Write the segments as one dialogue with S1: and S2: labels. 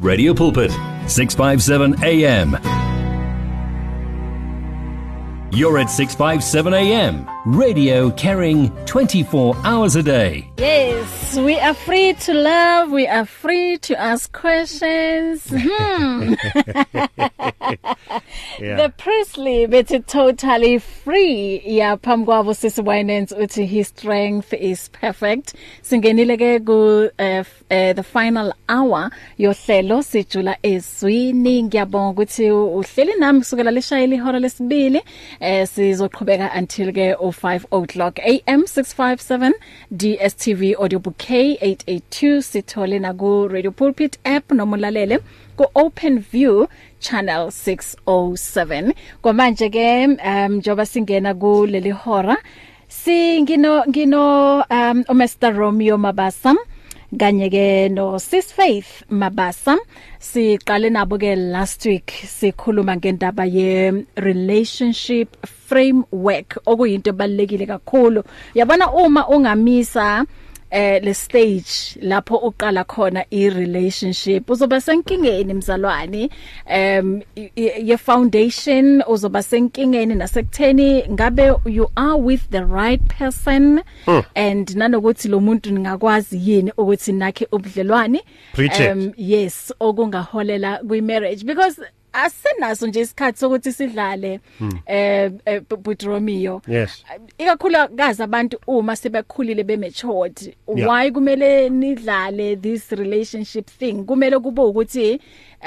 S1: Radio Pulpit, 657 AM. You're at 657 AM, radio carrying 24 hours a day.
S2: Yes, we are free to love, we are free to ask questions. Hmm.
S3: Yeah.
S2: The Priestley bethi totally free. Yeah, phamkwabo sisi Winans uthi his strength is perfect. Singenile ke ku eh, f- eh, the final hour yohlelo sijula ezwini. Ngiyabonga ukuthi u- uhleli nami kusukela lishayile ihora lesibili. Eh sizoqhubeka until ke o5 o'clock AM 657 DSTV audio bouquet 882 sithole na ku Radio Pulpit app noma lalele ku Open View channel 607 kwamanje ke um njoba singena kuleli hora singino ngino um uMr Romeo Mabasa kanye ke no Sis Faith Mabasa siqale nabo ke last week sikhuluma ngendaba ye relationship framework okuyinto ebalekile kakhulu yabona uma ungamisa eh le stage lapho uqala khona i relationship uzoba senkingeni mzalwane um ye foundation uzoba senkingeni nasekutheni ngabe you are with the right person
S3: Hmm.
S2: and nanokuthi lo muntu ningakwazi yini ukuthi nakhe ubudlelwane Um,
S3: Preach it.
S2: yes okungaholela kwi marriage because asinaso nje isikhathi sokuthi sidlale
S3: Hmm.
S2: eh eh, but Romeo
S3: Yes.
S2: ikakhulukazi abantu uma sebekhulile bematured
S3: Yeah.
S2: why kumele nidlale this relationship thing kumele kube ukuthi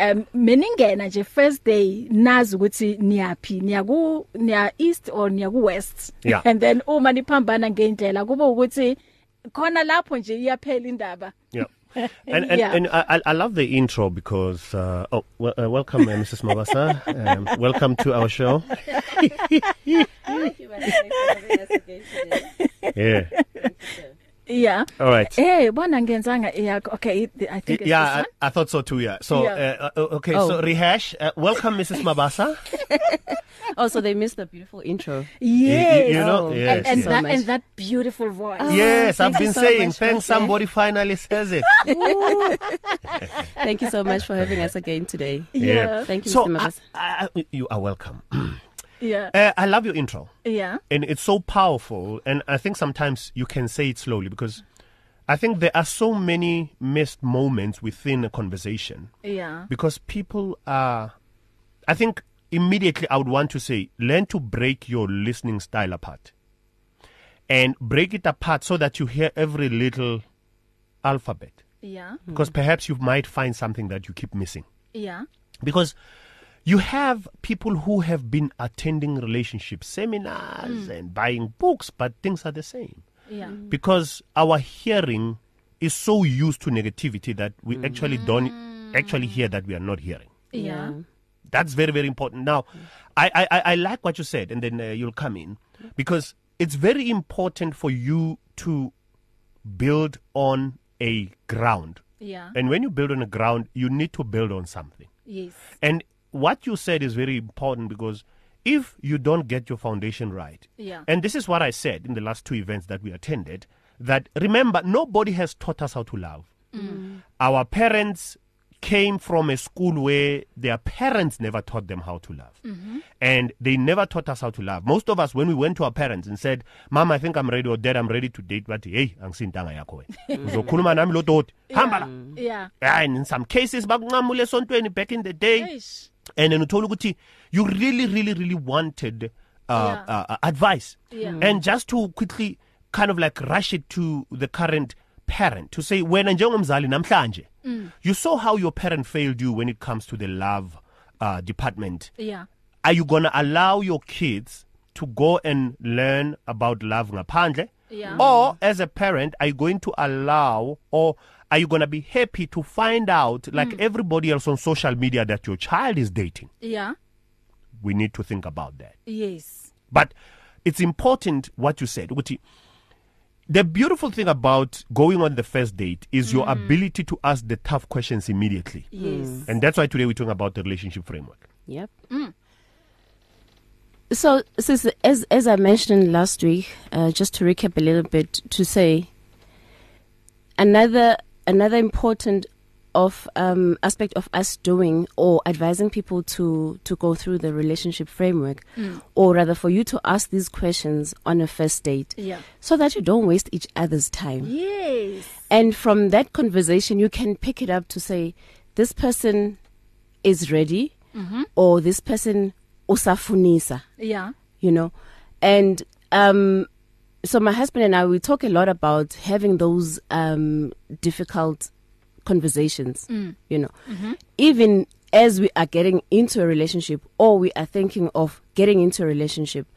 S2: um meningena nje first day nazi ukuthi niyapi niyaku niya east or niyaku west
S3: Yeah.
S2: and then uma niphambana ngendlela kube ukuthi khona lapho nje iyaphela indaba
S3: Yeah. And and,
S2: Yeah.
S3: and I, I- I love the intro because uh, oh well, uh, welcome uh, Mrs. Mabasa. Um, welcome to our show. Yeah.
S2: yeah
S3: All right.
S2: hey bona ngenzanga yakho okay it- i think it's this
S3: Yeah,
S2: one.
S3: I, I thought so too. Yeah. So
S2: Yeah.
S3: yeah. Uh, uh, okay,
S4: Oh.
S3: oh. so rehash. Uh, welcome Mrs. Mabasa.
S4: Oh, so they missed the beautiful intro.
S2: yes
S3: You, you know.
S4: Oh.
S3: Yes.
S2: and,
S3: Oh.
S2: and
S3: yes.
S4: so
S2: that
S4: much.
S2: and that beautiful voice
S3: Yes, I've
S4: Thank you
S3: been
S4: so
S3: saying
S4: much,
S3: thanks
S4: Mabasa.
S3: somebody finally says it.
S4: Thank you so much for having us again today.
S2: Yeah.
S4: Thank you,
S3: so I,
S4: Mr. Mabasa.
S3: I, I- you are welcome.
S2: yeah
S3: Uh, I love your intro.
S2: yeah
S3: and it's so powerful and i think sometimes you can say it slowly because i think there are so many missed moments within a conversation
S2: yeah
S3: because people are i think immediately i would want to say learn to break your listening style apart and break it apart so that you hear every little alphabet
S2: yeah
S3: because perhaps you might find something that you keep missing
S2: yeah
S3: because you have people who have been attending relationship seminars and buying books but things are the same
S2: yeah
S3: because our hearing is so used to negativity that we actually don't actually hear that we are not hearing
S2: yeah
S3: that's very very important now I, I i i like what you said and then uh, you'll come in because it's very important for you to build on a ground
S2: yeah
S3: and when you build on a ground you need to build on something
S2: yes
S3: and what you said is very important because if you don't get your foundation right,
S2: Yeah.
S3: and this is what I said in the last two events that we attended, that remember, nobody has taught us how to love.
S2: Mm.
S3: Our parents came from a school where their parents never taught them how to love.
S2: Mm-hmm.
S3: And they never taught us how to love. Most of us, when we went to our parents and said, Mom, I think I'm ready, or Dad, I'm ready to date, but hey, angisintanga yakho wena. Uzokhuluma nami lo doti. Hamba la.
S2: yeah
S3: And in some cases, bakunqamule esontweni back in the day.
S2: Eish.
S3: and then uthola ukuthi you really really really wanted uh,
S2: Yeah.
S3: uh, uh advice
S2: Yeah. Mm.
S3: and just to quickly kind of like rush it to the current parent to say wena njengomzali namhlanje
S2: Mm.
S3: you saw how your parent failed you when it comes to the love uh department
S2: yeah
S3: are you going to allow your kids to go and learn about love ngaphandle
S2: Yeah.
S3: or as a parent are you going to allow or are you going to be happy to find out like mm. everybody else on social media that your child is dating
S2: yeah
S3: we need to think about that
S2: yes
S3: but it's important what you said ukuthi the beautiful thing about going on the first date is your ability to ask the tough questions immediately
S2: yes
S3: and that's why today we're talking about the relationship framework
S4: Yep. So, since as as I mentioned last week, uh, just to recap a little bit, to say another another important of um, aspect of us doing or advising people to to go through the relationship framework, or rather for you to ask these questions on a first date,
S2: Yeah.
S4: so that you don't waste each other's time.
S2: Yes.
S4: And from that conversation, you can pick it up to say, this person is ready, mm-hmm. or this person usafunisa,
S2: Yeah.
S4: you know. And um, so my husband and I, we talk a lot about having those um, difficult conversations, mm. you know. Mm-hmm. Even as we are getting into a relationship or we are thinking of getting into a relationship,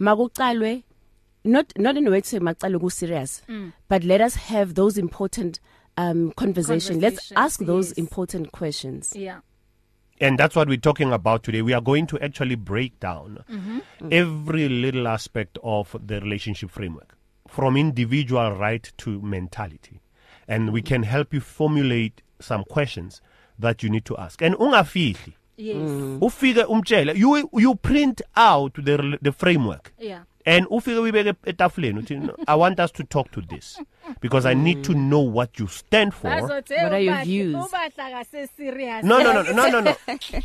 S4: makuqalwe not not in a way to say macale ku serious mm. but let us have those important um conversation let's
S2: Conversations,
S4: ask those
S2: yes.
S4: important questions
S2: Yeah.
S3: And that's what we're talking about today. We are going to actually break down every little aspect of the relationship framework from individual right to mentality. And we can help you formulate some questions that you need to ask. And ungafihli,
S2: Yes.
S3: ufike umtshele, you you print out the the framework.
S2: Yeah.
S3: And ufike uyibeke etafuleni uthi "No, I want us to talk to this because I need to know what you stand for.
S4: What are your views?
S2: Ubahla serious.
S3: No, no, no, no, no, no.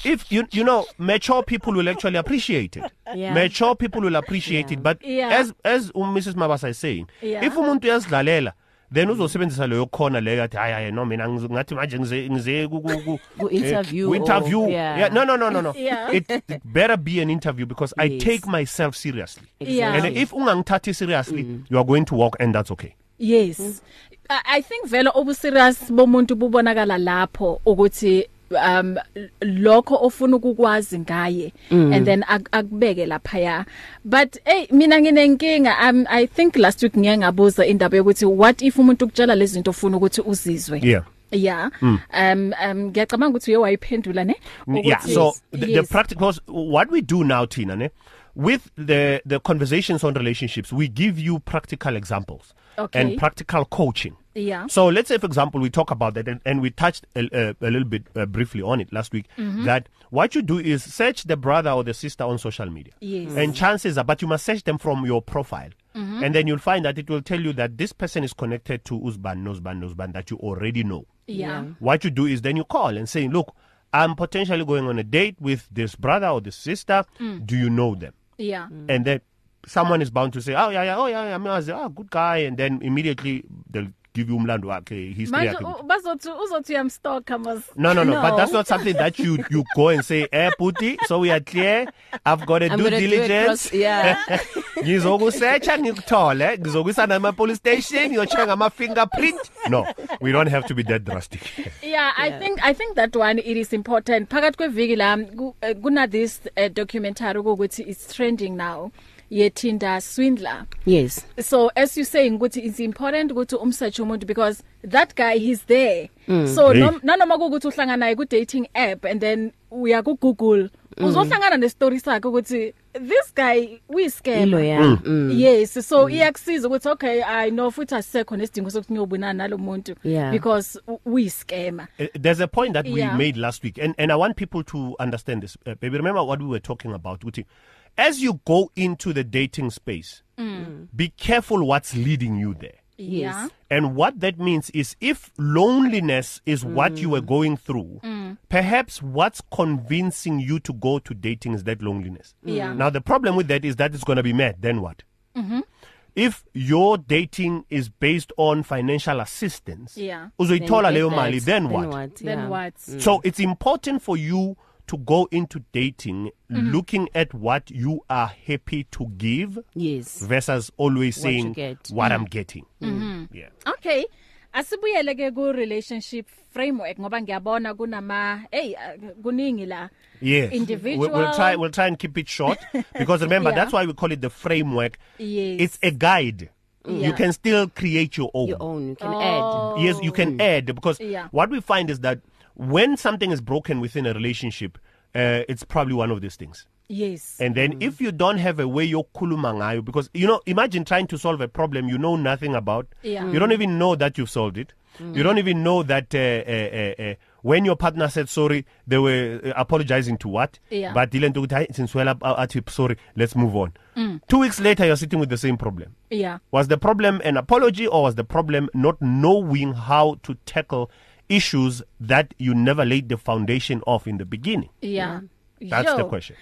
S3: If you you know, mature people will actually appreciate it.
S4: Yeah.
S3: Mature people will appreciate yeah. it. But
S2: Yeah.
S3: as as um, Mrs. Mabasa is saying,
S2: Yeah.
S3: if umuntu uyazidlalela then uzosebenzisa leyo khona leyo athi hayi hayi no mina ngiz- ngathi manje ngize ngize ku- ku- ku-
S4: Ku interview
S3: eh, ku
S4: or-
S3: interview
S4: yeah.
S3: yeah no no no no no
S2: Yeah.
S3: it, it better be an interview because yes. i
S4: Yes.
S3: take myself seriously
S2: Yeah.
S3: and if ungangithathi seriously mm. you are going to walk and that's okay
S2: Yes. Mm. I I think vele obuserious bomuntu bubonakala lapho ukuthi um l- lokho ofuna ukukwazi ngaye mm. and then ak- akubeke lapha ya but hey mina nginenkinga um, i think last week ngeke ngabuza indaba yokuthi what if umuntu ukutshela lezi zinto ufuna ukuthi uzizwe
S3: yeah
S2: yeah mm. um um ngiyacabanga ukuthi uye wayiphendula ne
S3: Mm, yeah
S2: Ukuthi-
S3: so the, the
S2: Yes.
S3: practical what we do now tina ne with the the conversations on relationships we give you practical examples
S2: Okay.
S3: and practical coaching
S2: Yeah.
S3: so let's say for example we talk about that and, and we touched a, a, a little bit uh, briefly on it last week mm-hmm. that what you do is search the brother or the sister on social media
S2: Yes.
S3: and chances are but you must search them from your profile mm-hmm. and then you'll find that it will tell you that this person is connected to usban nosban nosban that you already know
S2: yeah
S3: what you do is then you call and say, look, I'm potentially going on a date with this brother or this sister. Mm. Do you know them?
S2: yeah
S3: Mm. And then someone is bound to say, oh, yeah, yeah, oh, yeah, yeah. I mean, I say, oh, good guy. And then immediately they'll give you umlando wakhe, history
S2: manje
S3: yakhe.
S2: u- bazothi uzothi uyamstalker mas
S3: No, no, no, no. But
S4: No.
S3: that's not something that you, you go and say, eh, puti, so we are clear. I've got a due
S4: gonna do it
S3: diligence.
S4: cross- yeah
S3: ngizokusearcha ngikuthole ngizokwisana ema-police station ngiyocheck ngama-fingerprint no we don't have to be that drastic
S2: yeah i think i think that one it is important phakathi kweviki la ku- eh, kuna this uh, documentary ukuthi it's trending now ye Tinder swindler
S4: yes
S2: so as you saying ukuthi it's important ukuthi umsearch umuntu because that guy he's there mm. so
S3: Hey.
S2: nom- nanoma kukuthi uhlangana naye ku dating app and then uya ku Google uzohlangana ne story sakhe ukuthi this guy we scam
S4: ilo yami mm.
S2: yes so mm. iyakusiza ukuthi okay i know futhi asisekho nesidingo sokuthi ngiyobonana nalomuntu
S4: Yeah.
S2: because we scammer
S3: Uh, there's a point that we
S2: Yeah.
S3: made last week and and I want people to understand this uh, baby remember what we were talking about Uthi as you go into the dating space mm. be careful what's leading you there
S2: yeah
S3: and what that means is if loneliness is what you were going through perhaps what's convincing you to go to dating is that loneliness
S2: Yeah.
S3: now the problem with that is that it's going to be met then what if your dating is based on financial assistance
S2: Yeah.
S3: uzoyithola leyo
S4: Like
S3: mali
S4: that.
S3: then
S4: then
S3: what
S4: what
S2: then
S4: yeah.
S2: what
S3: So it's important for you to go into dating looking at what you are happy to give
S4: yes
S3: versus always
S4: What you
S3: saying
S4: get.
S3: what I'm getting. Mm-hmm. Yeah.
S2: okay asibuyele ke ku relationship framework ngoba ngiyabona kunama hey uh, kuningi la
S3: Yes.
S2: Individual.
S3: We'll, we'll try we'll try and keep it short because remember
S2: Yeah.
S3: that's why we call it the framework.
S2: Yes.
S3: It's a guide.
S2: Yeah.
S3: You can still create your own.
S4: your own you can
S2: Oh.
S4: add
S3: Yes, you can add because
S2: Yeah.
S3: what we find is that when something is broken within a relationship, uh, it's probably one of these things.
S2: yes
S3: And then mm. if you don't have a way you're kulumangayo, because you know, imagine trying to solve a problem you know nothing about.
S2: Yeah. Mm.
S3: You don't even know that you've solved it. Mm. You don't even know that uh, uh, uh, uh, when your partner said sorry, they were uh, apologizing to what.
S2: Yeah.
S3: But Dylan took it since well up at sorry, let's move on. Mm. Two weeks later, you're sitting with the same problem.
S2: yeah
S3: Was the problem an apology or was the problem not knowing how to tackle issues that you never laid the foundation of in the beginning?
S2: yeah
S3: Mm. That's the
S2: Yo.
S3: question.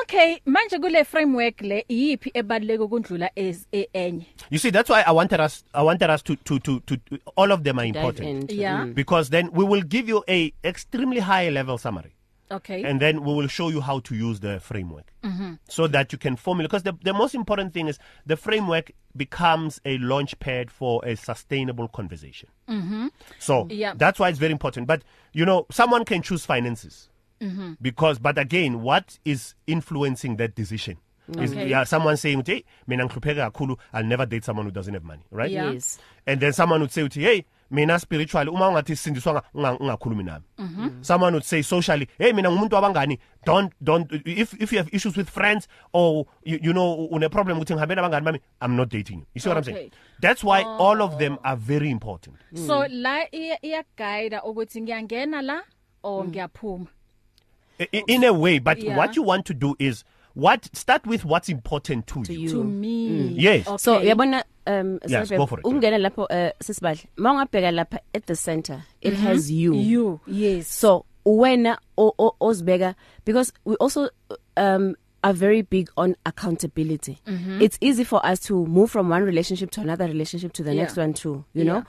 S2: okay manje kule framework le yipi ebaluleke kundlula as enye
S3: You see, that's why I wanted us. I wanted us to to to, to, to all of them are
S4: Dive
S3: important
S4: into.
S2: Yeah.
S3: because then we will give you a extremely high level summary.
S2: okay
S3: and then we will show you how to use the framework mm-hmm. so that you can formulate because the, the most important thing is the framework becomes a launch pad for a sustainable conversation mm-hmm. so
S2: Yeah.
S3: that's why it's very important but you know someone can choose finances mm-hmm. because but again what is influencing that decision Is,
S2: Okay.
S3: yeah, someone saying, "Hey, mina ngihlupheka kakhulu. I'll never date someone who doesn't have money." Right?
S2: Yeah.
S4: Yes.
S3: and then someone would say uthi hey mina spiritually uma ungathi sindiswa ungakhulumi nami someone would say socially hey mina ngumuntu wabangani don't don't if if you have issues with friends or you, you know une problem uthi ngihambe nabangani bami i'm not dating you you see what i'm saying
S2: Okay.
S3: that's why oh. all of them are very important
S2: so
S3: mm.
S2: la iya iya guide ukuthi ngiyangena la
S3: Mm.
S2: or ngiyaphuma
S3: I- i- in a way but
S2: Yeah.
S3: yeah. what you want to do is what start with what's important to,
S4: to
S3: you. Mm.
S4: you.
S2: to me
S3: Yes.
S2: okay.
S4: So yabona um
S3: Yes,
S4: sorry,
S3: go
S4: babe,
S3: for it.
S4: ungena lapho uh, sisibadle mawungabheka lapha at the center it has you.
S2: Mm-hmm. you yes
S4: So wena o- o- ozibeka because we also um are very big on accountability. Mm-hmm. It's easy for us to move from one relationship to another relationship to the
S2: Yeah.
S4: next one too, you know?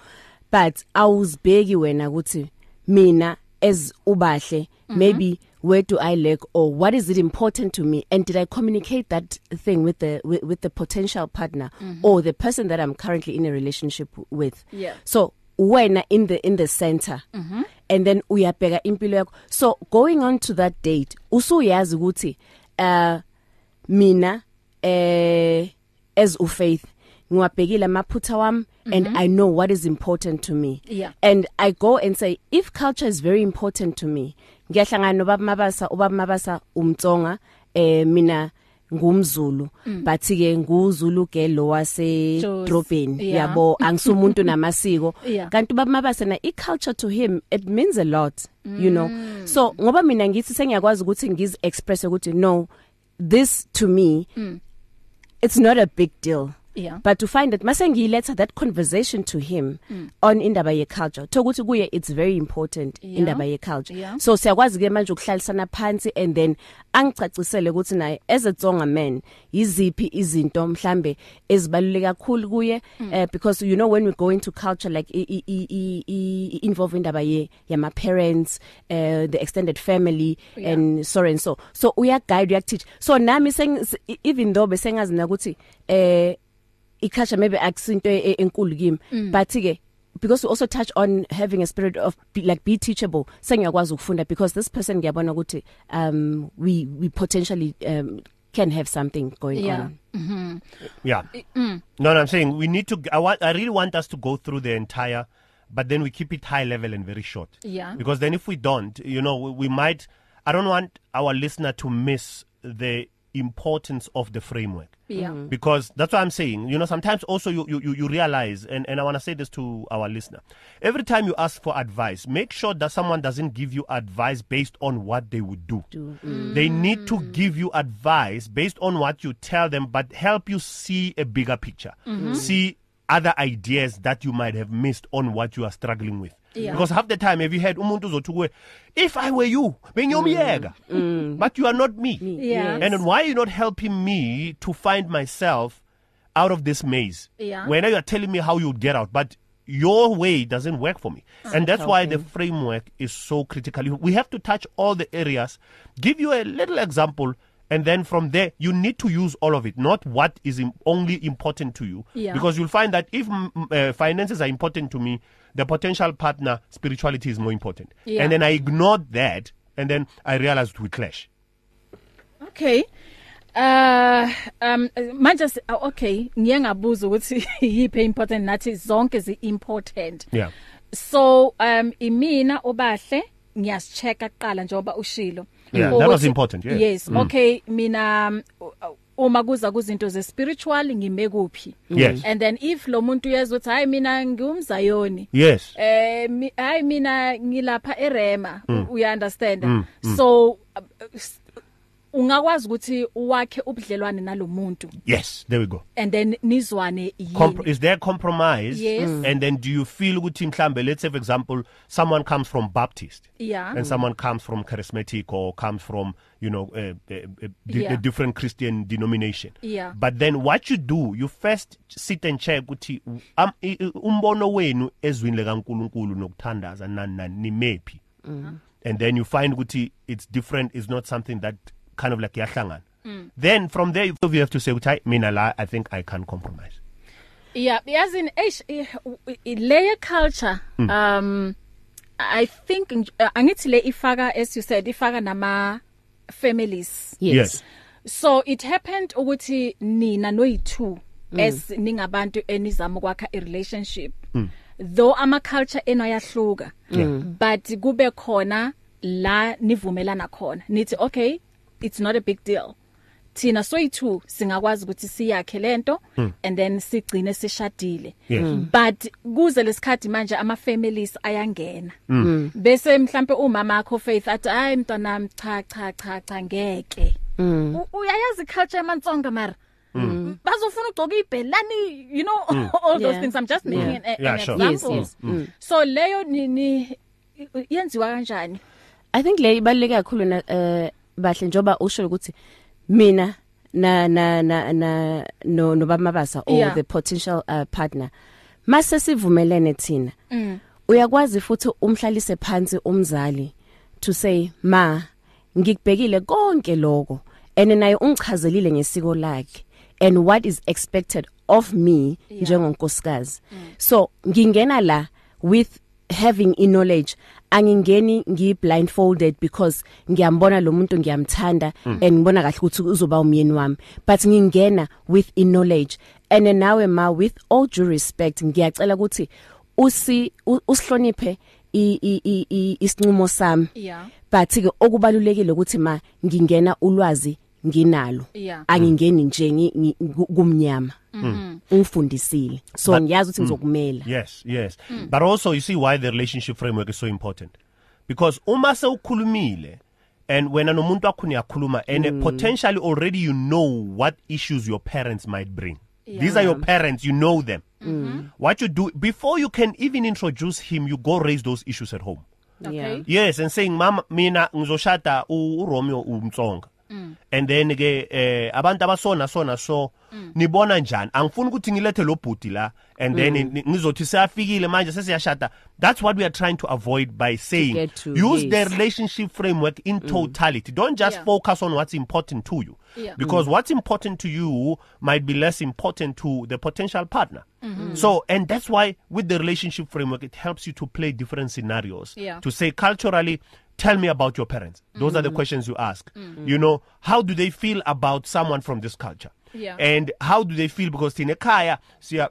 S4: But awuzibeki wena ukuthi mina as ubahle maybe where do I lack or what is it important to me and did I communicate that thing with the with, with the potential partner mm-hmm. or the person that I'm currently in a relationship w- with.
S2: Yeah.
S4: So wena in the in the center mm-hmm. and then uyabheka impilo yakho so going on to that date usuyazi ukuthi uh mina eh as ufaith ngiwabhekile amaphutha wami and i know what is important to me
S2: Mm-hmm. Yeah.
S4: and i go and say if culture is very important to me ngiyahlangana nobaba mabasa ubaba mabasa umtsonga eh mina ngumzulu but ke nguzulu ke lo wase
S2: Mm. Jozi.
S4: Durban
S2: Yeah.
S4: yabo angisumuntu namasiko
S2: Yeah.
S4: kanti ubaba mabasena i culture to him it means a lot you know
S2: Mm.
S4: so ngoba mina ngithi sengiyakwazi ukuthi ngiz express ukuthi no this to me it's not a big deal
S2: Mm. yeah
S4: but to find that masengiyiletha that conversation to him mm. on indaba ye culture tokuthi kuye it's very important
S2: Yeah.
S4: indaba ye culture
S2: Yeah.
S4: so siyakwazi ke manje ukuhlalisana phansi and then angicacisele ukuthi naye as a tsonga man yiziphi izinto mhlambe ezibaluleke kakhulu kuye eh, because you know when we go into culture like i, i, i, i, i involve indaba ye yama parents uh, the extended family yeah. and so and so so uya guide uya teach so nami seng s- even though besengazi nakuthi eh iculture maybe akusinto e- e- enkulu kimi but ke because we also touch on having a spirit of be, like be teachable sengiyakwazi ukufunda because this person ngiyabona ukuthi um we we potentially um can have something going
S2: Yeah.
S4: on
S3: yeah no no i'm saying we need to i want i really want us to go through the entire but then we keep it high level and very short
S2: Yeah.
S3: because then if we don't you know we, we might i don't want our listener to miss the importance of the framework
S2: yeah
S3: because that's what i'm saying you know sometimes also you you, you you realize and, and i want to say this to our listener every time you ask for advice make sure that someone doesn't give you advice based on what they would do, do. they need to give you advice based on what you tell them but help you see a bigger picture see other ideas that you might have missed on what you are struggling with
S2: Yeah.
S3: because half the time have you heard umuntu uzothi kuwe if i were you bengiyomyeka but you are not Mm. me
S2: Yeah.
S3: and then why are you not helping me to find myself out of this maze?
S2: Yeah.
S3: When you are telling me how you would get out, but your way doesn't work for me.
S2: Ah,
S3: and that's why the framework is so critical. You- We have to touch all the areas, give you a little example, and then from there, you need to use all of it, not what is Im- only important to you.
S2: Yeah.
S3: Because you'll find that if mm, mm, uh, finances are important to me, the potential partner, spirituality is more important.
S2: Yeah.
S3: And then I ignored that, and then I realized we clash.
S2: Okay. Uh um manje si- uh, okay ngiye ngabuza ukuthi yiphi important nathi zonke zi important.
S3: Yeah.
S2: So um imina obahle ngiyasicheka kuqala njengoba ushilo.
S3: Yeah, that was
S2: Ukuthi-
S3: important, yes.
S2: Yes.
S3: Mm.
S2: Okay mina um, u- uma kuza kuzinto ze spiritual ngime kuphi.
S3: Yes.
S2: And then if lo muntu uyezwa ukuthi hayi mina ngumzayoni
S3: Yes.
S2: eh mi- hayi mina ngilapha eRema u- uya understand so uh, s- ungakwazi ukuthi wakhe ubudlelwane nalomuntu
S3: yes there we go
S2: and then nizwane yini
S3: Compr is there compromise
S2: Yes. Mm.
S3: and then do you feel ukuthi mhlambe let's say for example someone comes from baptist
S2: yeah
S3: and someone comes from charismatic or comes from you know a, a, a, di-
S2: Yeah.
S3: a different christian denomination
S2: Yeah.
S3: but then what you do you first sit and check ukuthi um, i- i- umbono wenu ezwini likaNkuluNkulu nokuthandaza nani nani nimephi
S2: Uh-huh.
S3: and then you find ukuthi it's different it's not something that kind of like yahlangana
S2: Mm.
S3: then from there you you have to say ukuthi "Hayi, mina la i think i can compromise
S2: yeah yazi in H layer culture um i think nj- uh, angithi le ifaka as you said ifaka nama families
S3: Yes.
S4: yes
S2: so it happened ukuthi nina noyi2 as ningabantu enizama ukwakha a relationship though ama culture eno yahluka but kube khona la nivumelana khona nithi okay it's not a big deal thina soyi2 singakwazi ukuthi siyakhe lento and then sigcine sishadile
S3: Hmm. Yes.
S4: Hmm.
S3: Mm.
S2: but kuze lesikhathi manje ama families ayangena
S3: Hmm.
S4: Hmm.
S2: bese mhlambe umama akho faith athi hayi mntwana cha cha cha cha ngeke
S4: Hmm.
S2: U- uyayazi culture yamantsonga mara
S3: Hmm.
S2: bazofuna ugcoka ibhelani you know all those
S4: Yeah.
S2: things i'm just making
S4: Yeah.
S2: an, an
S3: Hmm. Yeah, sure. Hmm.
S2: example
S4: Yes, yes.
S2: so leyo nini yenziwa kanjani
S4: I think le ibaluleke kakhulu na eh, bahle njoba usho ukuthi mina na na na na no nobamabasa or
S2: Yeah.
S4: the potential uh, partner mase sivumelene thina uyakwazi futhi umhlalise phansi umzali to say ma ngikubhekile konke lokho and naye ungichazelile ngesiko lakhe and what is expected of me njengonkosikazi so ngingena la with having in knowledge angingeni ngiblindfolded because ngiyambona lo muntu ngiyamthanda and ngibona kahle ukuthi uzoba umyeni wami but ngingena with in knowledge and then nawe ma with all due respect ngiyacela ukuthi usi u- usihloniphe i- i- i- i- isinqumo sami
S2: yeah
S4: but ke okubalulekile ukuthi ma ngingena ulwazi nginalo
S2: Yeah. Mm-hmm.
S4: angingeni nje ngi- ngi- ku- kumnyama ungifundisile so ngiyazi ukuthi ngizokumela
S3: Yes, yes. Mm. But also you see why the relationship framework is so important. Because uma sewukhulumile and wena nomuntu wakho niyakhuluma and mm. potentially already you know what issues your parents might bring. Yeah. These are your parents, you know them. Mm. What you do before you can even introduce him, you go raise those issues at home.
S2: okay
S3: Yes, and saying mama mina ngizoshada u u- Romeo umtsonga. And then ke eh abantu abasona sona so nibona njani? Angifuni ukuthi ngilethe lo bhuti la and then ni- ngizothi siyafikile manje sesiyashada. That's what we are trying to avoid by saying
S4: get to,
S3: use
S4: yes.
S3: the relationship framework in totality. Don't just
S2: Yeah.
S3: focus on what's important to you.
S2: Yeah.
S3: Because what's important to you might be less important to the potential partner. So, and that's why with the relationship framework, it helps you to play different scenarios
S2: Yeah. Mm-hmm.
S3: to say culturally tell me about your parents those are the questions you ask
S2: Mm.
S3: you know how do they feel about someone from this culture
S2: Yeah.
S3: and how do they feel because thine ekhaya siya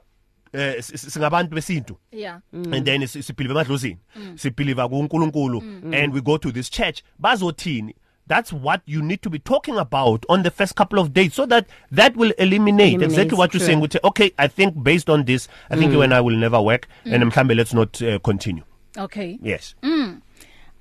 S3: eh, s- s- singabantu besintu
S2: yeah
S3: and then si- sibhiliva emadlozini
S2: Mm.
S3: sibhiliva kuNkulunkulu and we go to this church bazothini that's what you need to be talking about on the first couple of dates so that that will eliminate
S4: Eliminates,
S3: exactly what you're
S4: true.
S3: saying ukuthi okay i think based on this i think you and i will never work and
S2: Mm.
S3: mhlambe let's not uh, continue
S2: okay
S3: yes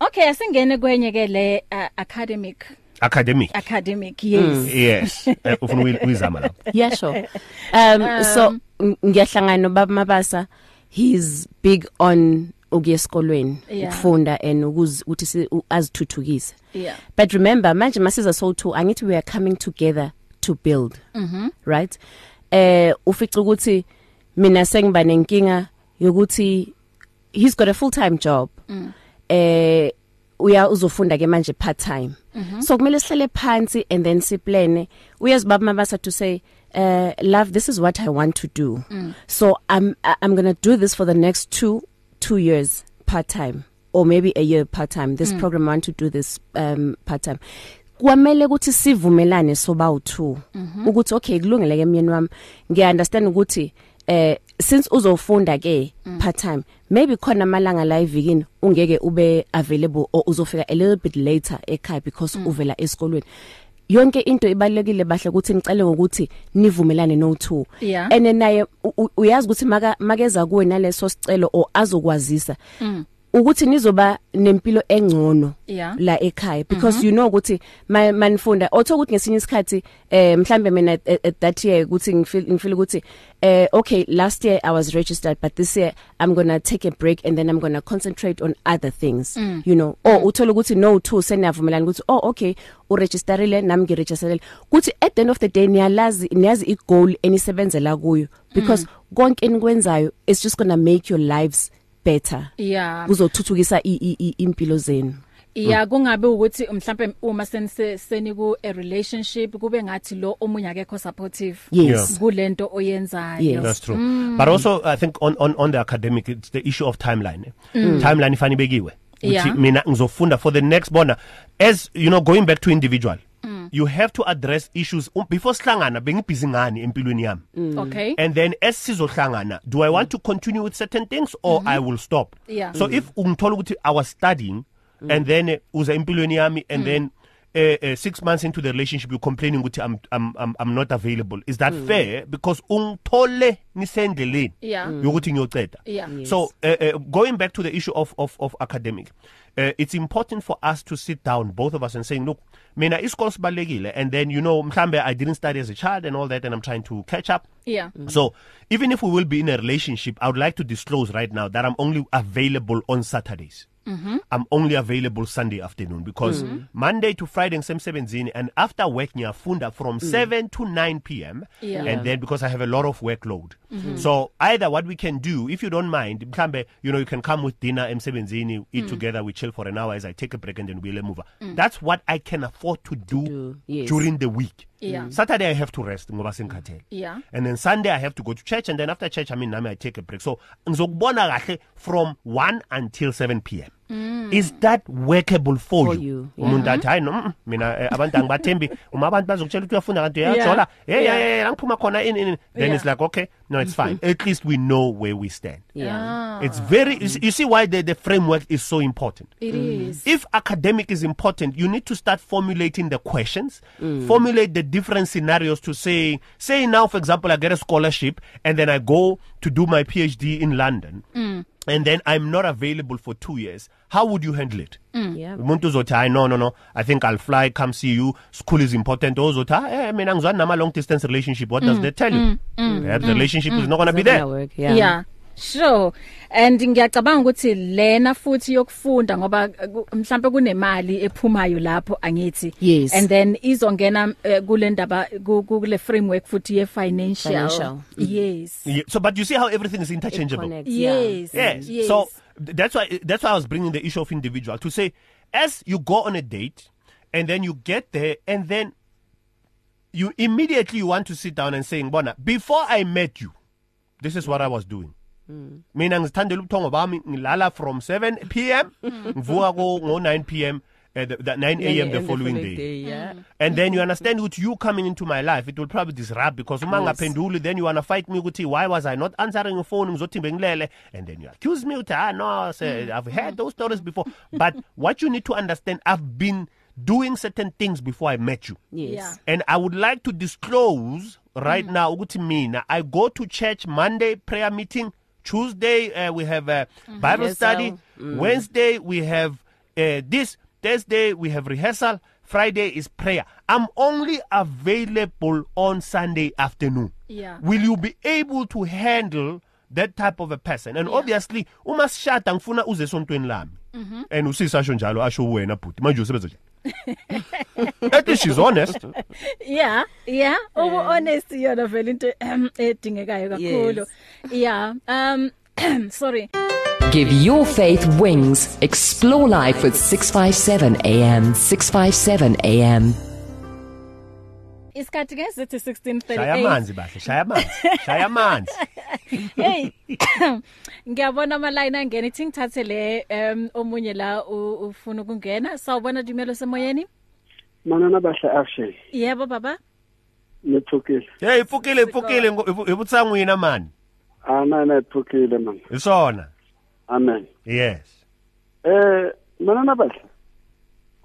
S2: okay asingene kwenye ke le uh, academic
S3: academic
S2: academic yes
S4: Mm.
S3: yes Eh, ufuna ukuyi- ukuyizama lapho
S4: yeah sure um, um so ng- ngiyahlangana baba mabasa he's big on ukuya esikolweni
S2: Yeah.
S4: ukufunda and ukuzi- ukuthi si- u- azithuthukise
S2: yeah
S4: but remember manje masiza so two angithi we are coming together to build
S2: Mm-hmm.
S4: right eh ufica ukuthi mina sengiba nenkinga yokuthi he's got a full time job eh uya uzofunda ke manje part time so kumele sihlele phansi and then siplane uyazibaba mabasa to say uh love this is what i want to do so i'm I- i'm going to do this for the next 2 2 years part time or maybe a year part time this program I want to do this um part time kwamele ukuthi sivumelane sobawu 2 ukuthi okay kulungile ke myeni wami ngiya understand ukuthi eh since uzofunda ke part time maybe khona amalanga la evikini ungeke ube available or uzofika a little bit later ekhaya because
S2: Mm.
S4: uvela esikolweni yonke into ibalekile bahle ukuthi ngicela ngokuthi nivumelane no two
S2: Yeah.
S4: and naye u- u- uyazi ukuthi maka makeza kuwe naleso sicelo or azokwazisa ukuthi nizoba nempilo engcono
S2: Mm. Yeah.
S4: la ekhaya because you know ukuthi my manifunda otho ukuthi ngesinye isikhathi eh mhlambe mina at- at at that year ukuthi ngifeel ngifeel ukuthi eh okay last year I was registered but this year I'm going to take a break and then I'm going to concentrate on other things mm. you know or uthola ukuthi no two senavumelana ukuthi oh okay u registerile nami ngi registerele kuthi at the end of the day niyalazi niyazi i goal enisebenzela kuyo because konke enikwenzayo it's just going to make your lives better
S2: yeah
S4: kuzothuthukisa i- i- i- impilo zenu
S2: iya kungabe ukuthi mhlambe uma senise seniku a relationship kube ngathi lo omunye akekho supportive
S4: Yes.
S2: kulento oyenzayo
S4: Yes.
S3: That's true. Mm. But also I think on on on the academic it's the issue of timeline. Mm. Timeline ifani bekiwe.
S2: Yeah.
S3: Uthi mina ngizofunda for the next bona as you know going back to individual. Mm. You have to address issues Um, before sihlangana bengibhizi ngani empilweni yami. Mm.
S2: okay
S3: And then as sizohlangana do I want to continue with certain things or mm -hmm. I will stop.
S2: Mm-hmm. Yeah. Mm-hmm.
S3: So mm. if ungithola ukuthi I was studying mm. and then uh, uza empilweni yami and mm. then Uh, uh, 6 months into the relationship you complaining ukuthi I'm I'm I'm I'm not available is that mm. fair because ungithole nisendleleni
S2: Yeah. Mm.
S3: yokuthi ngiyoceda
S2: Yeah. Yes.
S3: so uh, uh, going back to the issue of of of academic uh, it's important for us to sit down both of us and saying look mina isikolo sibalekile and then you know mhlambe I didn't study as a child and all that and I'm trying to catch up
S2: yeah
S3: Mm-hmm. So, even if we will be in a relationship, I would like to disclose right now that I'm only available on Saturdays. Mm-hmm. I'm only available Sunday afternoon because mm-hmm. Monday to Friday ngisemsebenzini and after work ngiyafunda from mm. 7 to 9 p.m.
S2: Yeah.
S3: and then because I have a lot of workload. Mm-hmm. So either what we can do if you don't mind mhlambe you know you can come with dinner emsebenzini eat mm. together we chill for an hour as I take a break and then we'll move. Mm. That's what I can afford to do,
S4: do, yes.
S3: during the week.
S2: Yeah.
S3: Saturday I have to rest ngoba sengikhathele.
S2: Yeah.
S3: and then Sunday I have to go to church and then after church I mean nami I take a break so ngizokubona kahle from 1 until 7 pm mm. is that workable for,
S4: For
S3: you
S4: you,
S3: umuntu athi hayi no mm, mina eh, abantu angibathembi uma abantu bazokutshela ukuthi uyafunda kanti uyajola hey
S2: Yeah.
S3: yeah yeah ngiphuma khona in in in. then
S2: Yeah.
S3: it's like okay no it's fine at least we know where we stand
S4: yeah
S2: Ah,
S3: it's very you see- you see why the the framework is so important
S2: it
S4: Mm.
S2: is
S3: If academic is important, you need to start formulating the questions, mm. formulate the different scenarios to say, say now, for example, I get a scholarship and then I go to do my PhD in London mm. and then I'm not available for two years. How would you handle it? Mm.
S4: yeah
S3: umuntu uzothi hayi no no no i think i'll fly come see you school is important ozothi hayi eh, mina ngizwani nama long distance relationship what mm. does that tell you mm. Mm. that mm. relationship mm. is not going to be there
S4: work
S2: yeah, yeah. Sure and ngiyacabanga ukuthi lena futhi yokufunda ngoba eh, ku- mhlambe kunemali ephumayo lapho angithi
S4: Yes.
S2: and then izongena eh, kule ndaba ku- ku- kule framework futhi ye financial Mm-hmm.
S4: Financial.
S2: yes
S3: yeah. so but you see how everything is interchangeable
S4: connects,
S2: yes
S3: Yes. yes. So th- that's why that's why I was bringing the issue of individual to say as you go on a date and then you get there and then you immediately you want to sit down and saying bona before I met you this is what I was doing. Mina ngizithandela ubuthongo bami ngilala from 7 pm ngivuka ko ngo 9 pm uh, the, the 9 am the following day. day.
S4: yeah
S3: And then you understand with you coming into my life it will probably disrupt because uma
S4: Yes.
S3: ngaphenduli then you wanna fight me ukuthi why was I not answering your phone ngizothi bengilele and then you accuse me ukuthi ah no sir, I've heard those stories before but what you need to understand I've been doing certain things before I met you
S2: Yeah.
S4: yes
S3: and I would like to disclose right mm. now ukuthi mina I go to church Monday prayer meeting Tuesday uh, we have a Bible
S4: Rehearsal.
S3: study mm. Wednesday we have uh, this Thursday we have rehearsal Friday is prayer I'm only available on Sunday afternoon
S2: Yeah.
S3: will you be able to handle that type of a person and yeah. obviously uma sishada ngifuna uze esontweni lami and usisa asho njalo asho wena bhuti manje usebenza njani at least she's honest
S2: yeah yeah ubu honest yona vele into ehm, edingekayo kakhulu yeah um sorry
S5: Give your faith wings. Explore life with 657 AM. 657 AM.
S2: isikhathi ke sithi
S3: shaya
S2: 1638
S3: amanzi bahle shaya amanzi shaya amanzi
S2: hey ngiyabona ama line angena ithi ngithathe le um omunye la u- ufuna ukungena sawubona dumelo semoyeni
S6: manana bahle action
S2: yebo baba
S6: nithukile
S3: hey ifukile ifukile ibutsangwina man
S6: anana ithukile man
S3: isona
S6: amen
S3: yes
S6: eh manana bahle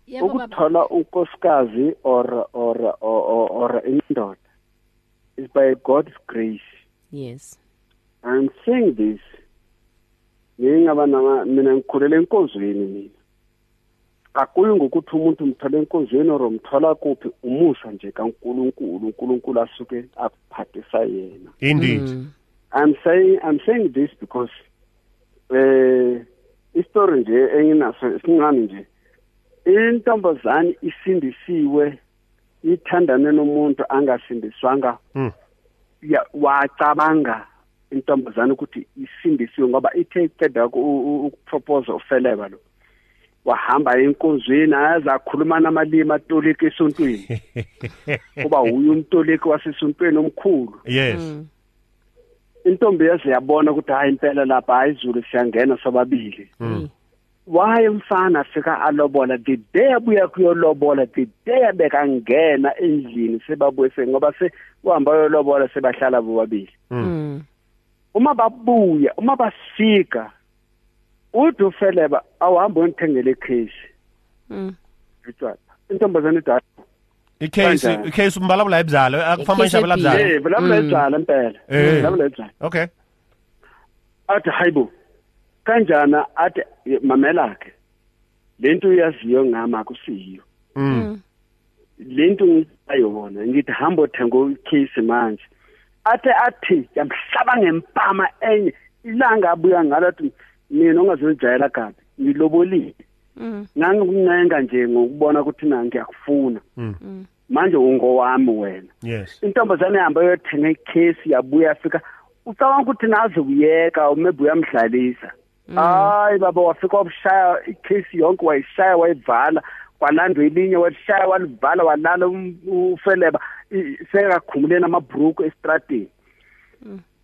S2: yebo baba
S6: ukuthola unkosikazi or or or- or or indoda is by God's grace
S4: yes
S6: i'm saying this ngingaba nama mina ngikhulele enkonzweni mina akuyi ngokuthi umuntu umthola enkonzweni or umthola kuphi umusa nje kaNkuluNkulu uNkulunkulu asuke akuphathisa yena
S3: Indeed.
S6: I'm saying I'm saying this because eh istory nje enginaso singani nje intombazane isindisiwe ithandane nomuntu angasindiswanga
S3: Mm.
S6: ya- wacabanga intombazane ukuthi isindisiwe ngoba ithe iceda uku- u- ukupropose ufeleba lo wahamba enkonzweni ayaze akhuluma namalimi atolika esontweni kuba huye umtoliki wasesontweni omkhulu
S3: Yes.
S6: intombi yaze yabona ukuthi hayi impela lapha hayi izulu siyangena sobabili
S3: Mm.
S6: waye umfana afika alobola the day abuya kuyolobola the day abekangena endlini sebabuye se- ngoba se uhamba yolobola sebahlala bobabili
S4: Mm.
S6: uma babuya uma basika uthi ufeleba awuhambe uyondithengela ikheshi
S4: Mm.
S6: utshwala intombazane ithi hayi
S3: Icase
S6: Kanjani?
S3: icase umbalabula ebuzalo akufamba
S4: Icase
S3: ishabela
S4: ebhizi.
S3: ebuzalo.
S6: eh belamla ejala impela
S3: Mm. Eh.
S6: belamla ejala
S3: Okay.
S6: athi hayibo kanjana athi "Ye, mamelake lento uyaziyo ngami akusiyo
S3: Mm.
S6: lento ngiyayona ngithi hamba othenga ucase manje athe athi yamhlaba ngempama enye ilanga abuya ngalo athi mina ongazojayela kabi ngilobolile
S4: Mm.
S6: ngangincenga nje ngokubona ukuthi na ngiyakufuna
S3: Mm.
S6: manje ungowami wena
S3: Yes.
S6: intombazane ihamba yothenga ikhesi yabuya afika ucabanga ukuthi nazi kuyeka maybe uyamdlalisa hayi baba wafika wabushaya ikhesi yonke wayishaya wayivala kwalandwa elinye walishaya walivala walala um- ufeleba i- sekakhumuleni amabhruku esitradini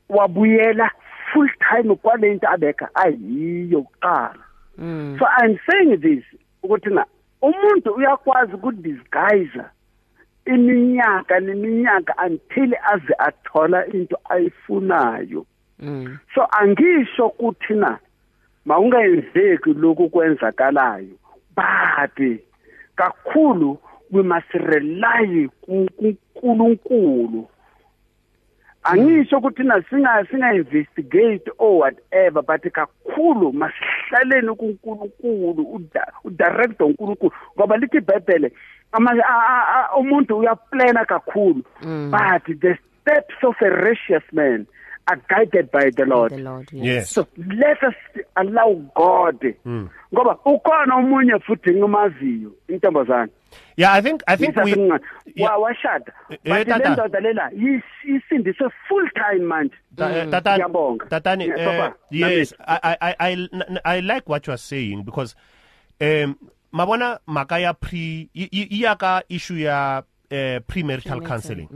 S6: wabuyela full time kwale nto abeka ayiyo kuqala
S4: Mm.
S6: so i'm saying this ukuthi na umuntu uyakwazi ukudisguise iminyaka neminyaka until aze athola into ayifunayo
S4: Mm.
S6: so angisho ukuthi na mawungayenzeki lokhu kwenzakalayo but kakhulu we must rely ku- kuNkulunkulu angisho ukuthi na singa singa investigate or whatever but kakhulu masihlaleni kuNkulunkulu uda- udirect uNkulunkulu ngoba lithi iBhayibhele ama- a- a- a- umuntu uyaplana kakhulu but the steps of a righteous man are guided by the Lord
S4: The Lord. Yes.
S3: Yes.
S6: so let us allow God
S3: Hmm.
S6: ngoba ukhona umunye futhi ngimaziyo intombazana
S3: Yeah, I think I think we
S6: Ngisasemncane.
S3: Yeah.
S6: Wa- washada
S3: Eh, eh,
S6: but
S3: tata.
S6: le ndoda lela yis- isindiswe full time manje
S3: Ta- eh, Tatani,
S6: Ngiyabonga.
S3: Tatani,
S6: Yeah,
S3: eh,
S6: Papa,
S3: yes, I, I, I, I, n- n- I like what you are saying because, um, mabona makaya pre, i- i- iyaka issue ya uh, premarital counseling,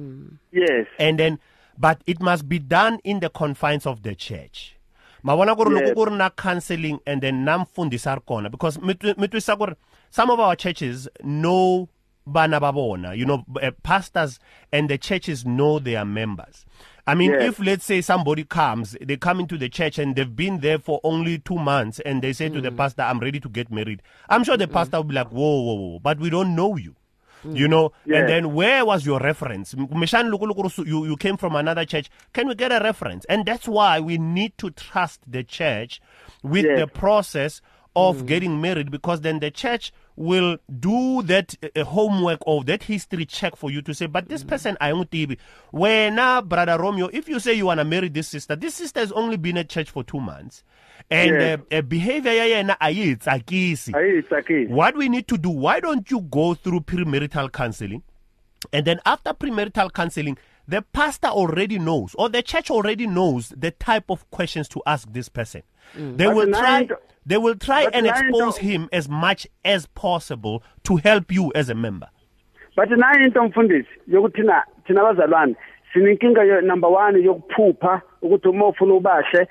S6: yes
S3: and then, but it must be done in the confines of the church. mabona ku ri loko
S6: Yes.
S3: ku ri na counseling and then na mfundisi a ri kona because mi twi- mi twisisa ku ri some of our churches know vana va vona you know uh, pastors and the churches know their members i mean
S6: Yes.
S3: if let's say somebody comes they come into the church and they've been there for only two months and they say to the pastor i'm ready to get married i'm sure the pastor will be like whoa whoa whoa but we don't know you you know
S6: Yes.
S3: and then where was your reference M- Mishani Lukulu Kurusu, you, you came from another church can we get a reference and that's why we need to trust the church with
S6: Yes. Mm.
S3: the process of getting married because then the church will do that uh, uh, homework or that history check for you to say but
S6: Mm.
S3: this person I won't be where now brother Romeo if you say you want to marry this sister this sister has only been at church for 2 months and
S6: Yes.
S3: uh, uh, behavior ya yena ayitsakisi
S6: ayisakile
S3: what we need to do why don't you go through premarital counseling and then after premarital counseling the pastor already knows or the church already knows the type of questions to ask this person they
S6: Mm. But
S3: will
S6: now
S3: try
S6: into-
S3: they will try
S6: but
S3: and
S6: now
S3: expose
S6: into-
S3: him as much as possible to help you as a member
S6: but nayo into mfundisi yokuthi na thina abazalwane sinenkinga yo- number 1 yokuphupha ukuthi uma ufuna ubahle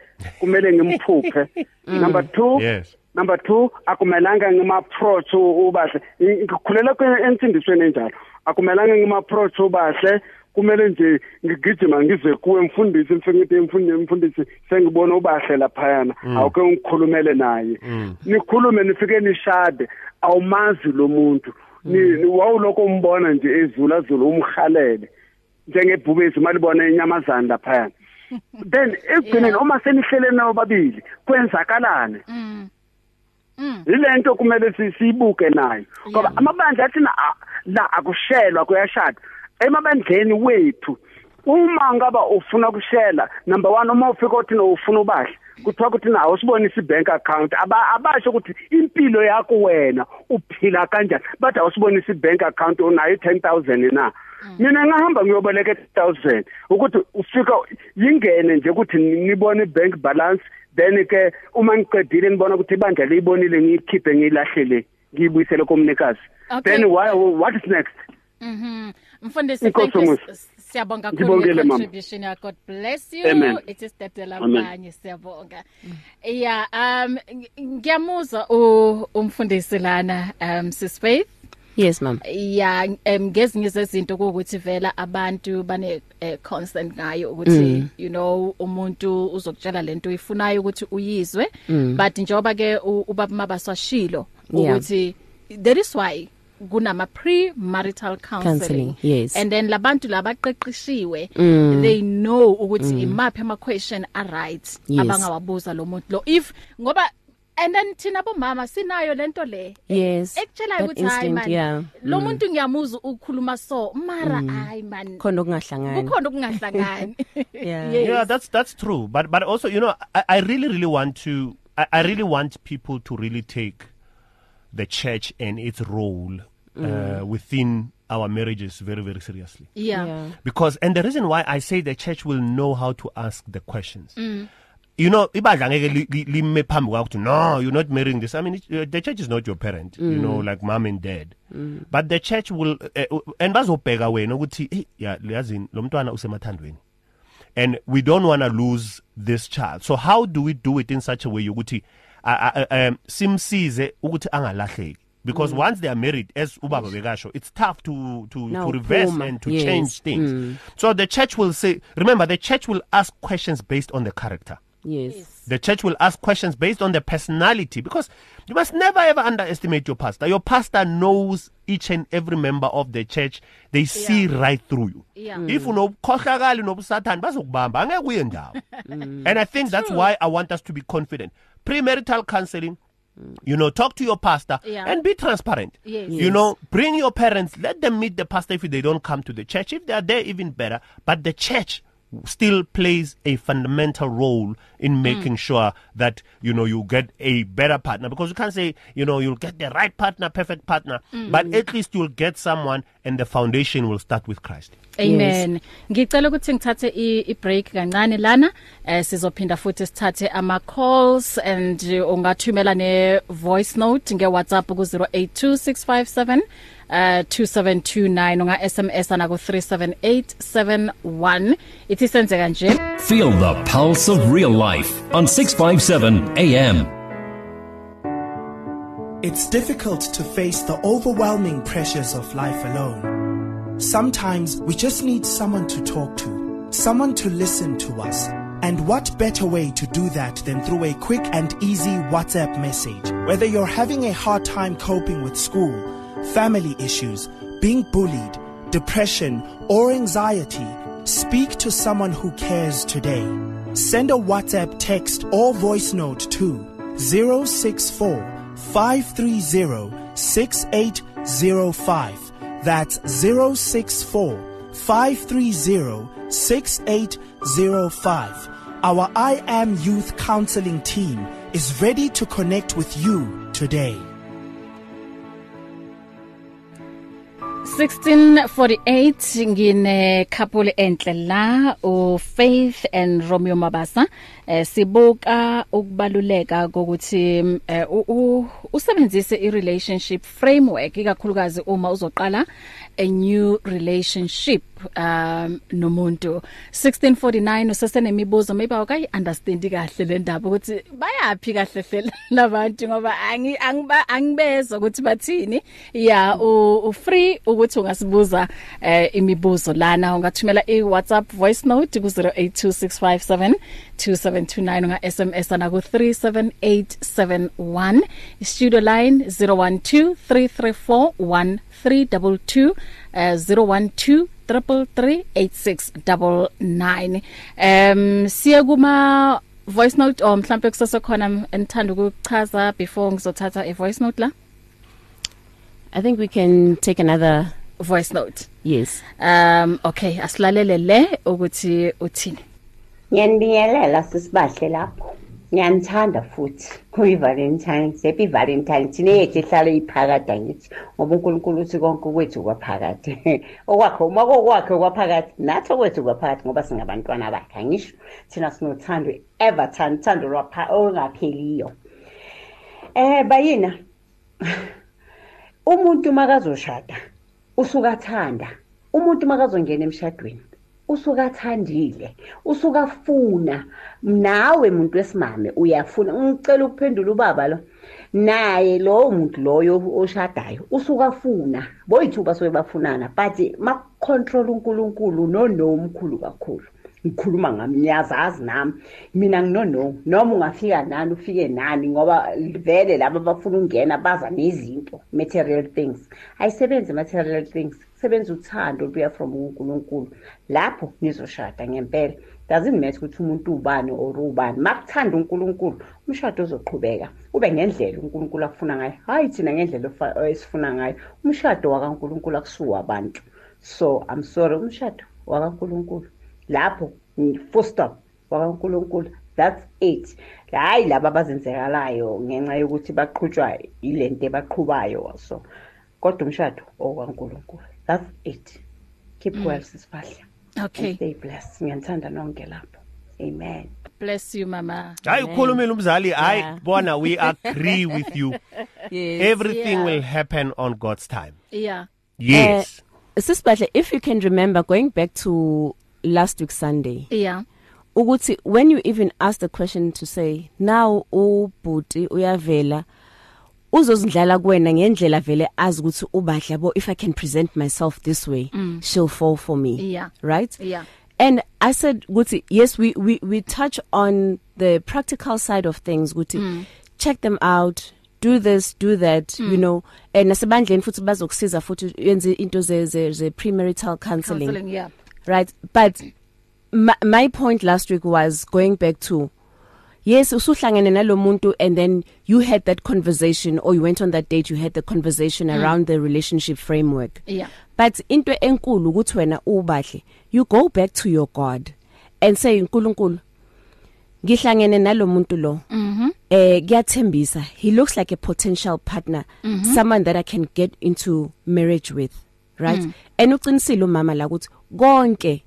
S6: kumele ngimphuphe number 2
S3: Hmm. Yes.
S6: number 2 akumelanga ngimapproach u- ubahle I- ngikhulela kwe- emfundisweni enjalo akumelanga ngimapproach ubahle kumele nje ngigijima ngize kuwe mfundisi mfengiti mfundisi mfundisi sengibona ubahle laphayana awuke ungikhulumele naye nikhulume nifike nishade awumazi lo muntu Ni- ni- wawuloko umbona nje ezula zulu umhalele njengebhubezi malibona inyamazana laphayana then ekugcineni uma senihlele nawo babili kwenzakalane yilento kumele si- siyibuke nayo ngoba amabandla athina a- la akushelwa kuyashada emabandleni wethu uma ngaba ufuna ukushela number 1 uma ufika uthina ufuna ubahle kuthiwa kuthina awusibonisi bank account Aba- abasho ukuthi impilo yakho wena uphila kanjani bathi awusibonisi bank account unayo 10000 na mina ngahamba ngiyoboleka 10000 ukuthi ufika yingene nje ukuthi nibone bank balance then ke uma ngiqedile nibona ukuthi ibandla liyibonile ngiyikhiphe ngiyilahlele ngiyibuyisele komnikazi
S2: Okay.
S6: then why, what is next
S2: Mhm. Mfundisi
S6: Inkosi
S2: thank you.
S6: Musa.
S2: S- Siyabonga
S6: Ngibongele,
S2: kakhulu
S6: mama.
S2: contribution yakho. God bless you.
S6: Amen.
S2: It is Dadela
S6: Amen.
S2: Banye siyabonga. Yeah, um ng- ngiyamuzwa u- umfundisi lana um Sis Faith.
S4: Yes, ma'am.
S2: ya em ngezinye zezinto ukuthi vela abantu bane eh, constant ngayo ukuthi
S4: Mm.
S2: you know umuntu uzokutshela lento uyifunayo ukuthi uyizwe but njoba ke u- ubaba mabaswashilo
S4: Mm. Yeah.
S2: ukuthi that is why kunama pre-marital counseling,
S4: Counselling, yes. Mm.
S2: and then labantu labaqeqishiwe they know ukuthi imaphi ama question are right
S4: Yes.
S2: abangawabuza lo muntu lo if ngoba and then thina bomama sinayo lento le
S4: Yes.
S2: ekutshelayo
S4: that
S2: ukuthi hayi
S4: instinct,
S2: man
S4: yeah. Mm.
S2: lo muntu ngiyamuza ukukhuluma so mara hayi man
S4: khona okungahlangani.
S2: kukhona okungahlangani
S4: Yeah.
S2: Yes.
S3: Yeah, that's that's true. But but also, you know, I, I really really want to I, I really want people to really take the church and its role
S6: Mm.
S3: uh, within our marriages very very seriously.
S2: yeah
S4: Yeah.
S3: because and the reason why i say the church will know how to ask the questions mm. you know ibadla ngeke li- li- lime phambi kwakho ukuthi no you're not marrying this i mean it, uh, the church is not your parent mm. you know like mom and dad mm. but the church will uh, uh, and bazobheka wena ukuthi hey yeah yazi lo mntwana usemathandweni and we don't want to lose this child so how do we do it in such a way ukuthi uh, uh, um simsize ukuthi angalahleki because mm. once they are married as ubaba bekasho it's tough to to
S4: Now,
S3: to reverse
S4: Puma,
S3: and to
S4: yes.
S3: change things so the church will say remember the church will ask questions based on the character
S4: Yes.
S3: the church will ask questions based on the personality because you must never ever underestimate your pastor your pastor knows each and every member of the church they see right through you
S2: Yeah.
S3: if unobukhohlakali nobusathane bazokubamba angeke uye ndawo and i think that's why i want us to be confident premarital counseling Mm. you know talk to your pastor
S2: Yeah.
S3: and be transparent
S2: Yes.
S3: you know bring your parents let them meet the pastor if they don't come to the church if they are there even better but the church still plays a fundamental role
S2: Mm.
S3: in making sure that you know you get a better partner because you can't say you know you'll get the right partner perfect partner
S2: Mm.
S3: but at least you'll get someone and the foundation will start with Christ
S2: amen ngicela ukuthi ngithathe i i break kancane lana eh sizophinda futhi sithathe ama calls and eh, ungathumela ne voice note nge WhatsApp ku 082657 uh 2729 unga SMS ana ku 37871 ithi senzeka nje
S1: Feel the pulse of real life on 657 AM.
S7: It's difficult to face the overwhelming pressures of life alone. Sometimes we just need someone to talk to, someone to listen to us. And what better way to do that than through a quick and easy WhatsApp message? Whether you're having a hard time coping with school, family issues, being bullied, depression, or anxiety, speak to someone who cares today. Send a WhatsApp text or voice note to 064 530 6805. That's 064 530 6805. Our I Am Youth Counseling team is ready to connect with you today.
S2: 1648 ngine couple enhle la u Faith and Romeo Mabasa eh, sibuka ukubaluleka kokuthi mm, eh, u- u- usebenzise i relationship framework ikakhulukazi uma uzoqala a new relationship um nomuntu 1649 usesenemibuzo maybe awukayi understand kahle le ndaba ukuthi bayapi kahle hle labantu ngoba angi angiba angibezwa ukuthi bathini ya u u free ukuthi ungasibuza eh, imibuzo lana ungathumela i WhatsApp voice note ku 0826572729 unga SMS ana ku 37871 studio line uh, 0123341322 eh, 012 08333699 um siya kuma voice note or mhlambe kusase khona ngithanda ukuchaza before ngizothatha a voice note la
S4: I think we can take another
S2: voice note
S4: yes.
S2: um okay asilalele le ukuthi uthini
S8: Ngiyanibingelela sisibahle lapho. Ngiyanithanda futhi. Kuyi Valentine's, happy Valentine's. Thine yethu ihlale iphakade ngithi. Ngoba uNkulunkulu uthi konke kwethu kwaphakade. Okwakho uma kokwakhe kwaphakade, nathi kwethu kwaphakade ngoba singabantwana bakhe. Angisho thina sinothando ever thando thando lwapha ongapheliyo. Eh bayina. Umuntu makazoshada usuka thanda. Umuntu makazongena emshadweni usuka athandile usuka afuna nawe muntu wesimame uyafuna ngicela ukuphendula ubaba lo naye lowo muntu loyo oshadayo usuka afuna boyithuba sobe bafunana but makucontrol uNkulunkulu nonomkhulu kakhulu ngikhuluma ngami niyazazi nami mina nginono noma ungafika nani ufike nani ngoba vele laba bafuna ukungena baza nezinto material things ayisebenzi material things sebenza uthando oluya from uNkulunkulu lapho nizoshada ngempela doesn't matter ukuthi umuntu ubani or ubani makuthanda uNkulunkulu umshado uzoqhubeka ube ngendlela uNkulunkulu akufuna ngayo hayi thina ngendlela ofa- esifuna ngayo umshado wakaNkulunkulu akusuwa abantu so i'm sorry umshado wakaNkulunkulu lapho mm, full stop wakaNkulunkulu that's it hayi laba abazenzekalayo ngenxa yokuthi baqhutshwa ilento ebaqhubayo so kodwa umshado okwaNkulunkulu that's it keep well sisiphahla
S2: okay
S8: stay blessed ngiyanithanda nonke lapho amen
S2: bless you mama
S3: hayi ukhulumile umzali
S4: Yeah.
S3: hayi bona we agree with you
S4: Yes.
S3: everything
S2: Yeah.
S3: will happen on god's time
S2: yeah
S3: yes
S4: Sisibahle, if you can remember going back to last week Sunday.
S2: yeah
S4: ukuthi when you even ask the question to say now ubhuti uyavela uzozindlala kuwena ngendlela vele azi ukuthi ubadla bo if i can present myself this way mm. she'll fall for me
S2: Yeah.
S4: right
S2: Yeah.
S4: and i said ukuthi yes we we we touch on the practical side of things ukuthi mm. check them out do this do that mm. you know and asebandleni futhi bazokusiza futhi yenze into ze ze ze premarital counseling,
S2: counseling yeah
S4: right but my, my point last week was going back to yes usuhlangene nalomuntu and then you had that conversation or you went on that date you had the conversation mm. around the relationship framework
S2: Yeah.
S4: but into enkulu ukuthi wena ubahle you go back to your god and say nkulunkulu ngihlangene nalomuntu lo mhm eh kuyathembisa he looks like a potential partner
S2: Mhm.
S4: mm -hmm. someone that i can get into marriage with right mm. and uqinisile umama la ukuthi konke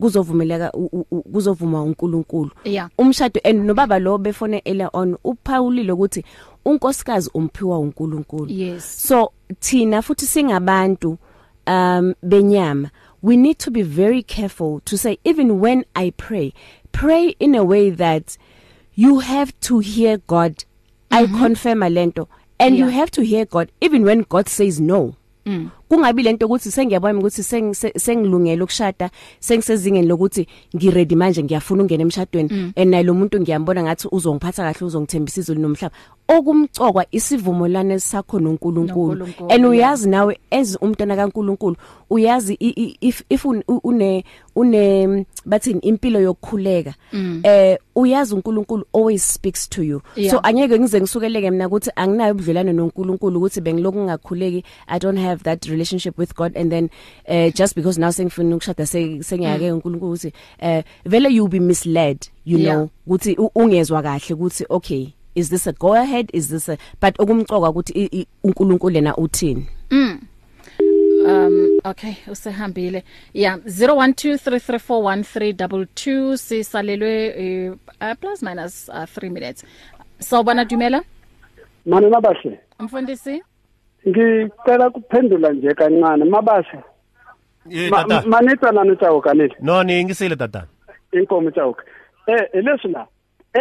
S4: kuzovumeleka u- u- u- kuzovuma uNkulunkulu
S2: Yeah.
S4: umshado and nobaba lo befone earlier on uphawulile ukuthi unkosikazi umphiwa uNkulunkulu
S2: Yes.
S4: so thina futhi singabantu um benyama we need to be very careful to say even when i pray pray in a way that you have to hear god mm -hmm. i confirm lento and yeah. you have to hear god even when god says no kungabi lento ukuthi sengiyabona ukuthi seng- se- sengilungele ukushada sengisezingeni lokuthi ngiready manje ngiyafuna ukungena emshadweni and naye lo muntu ngiyambona ngathi uzongiphatha kahle uzongithembisa izulu nomhlaba okumcokwa isivumelwano sakho
S2: NoNkulunkulu,
S4: noNkulunkulu and
S2: yeah.
S4: uyazi nawe as umntwana kaNkulunkulu uyazi i- i- if if un- u- une une bathini impilo yokukhuleka eh uyazi uNkulunkulu always speaks to you
S2: Mm. Yeah.
S4: so angeke ngize ngisukeleke mina ukuthi anginayo ubudlelwano noNkulunkulu ukuthi bengiloku ngakhuleki i don't have that relationship with God and then uh, just because now sengifuna ukushada se- sengiyake uNkulunkulu ukuthi eh vele you be misled you
S2: Mm. Yeah.
S4: know ukuthi u- ungezwa kahle ukuthi okay is this a go ahead is this a but okumcoka ukuthi i- i- uNkulunkulu yena uthini
S2: um okay usehambile yeah 0123341322 sisalelwe uh, plus minus uh, 3 minutes sawubona dumela
S6: mana mabahle
S2: mfundisi
S6: ngicela kuphendula nje kancane mabahle
S3: Ye,
S6: Ma-
S3: Eh, tata.
S6: manetsa nani tawuka nile
S3: no niyingisile tata
S6: inkomo tawuka eh leswi la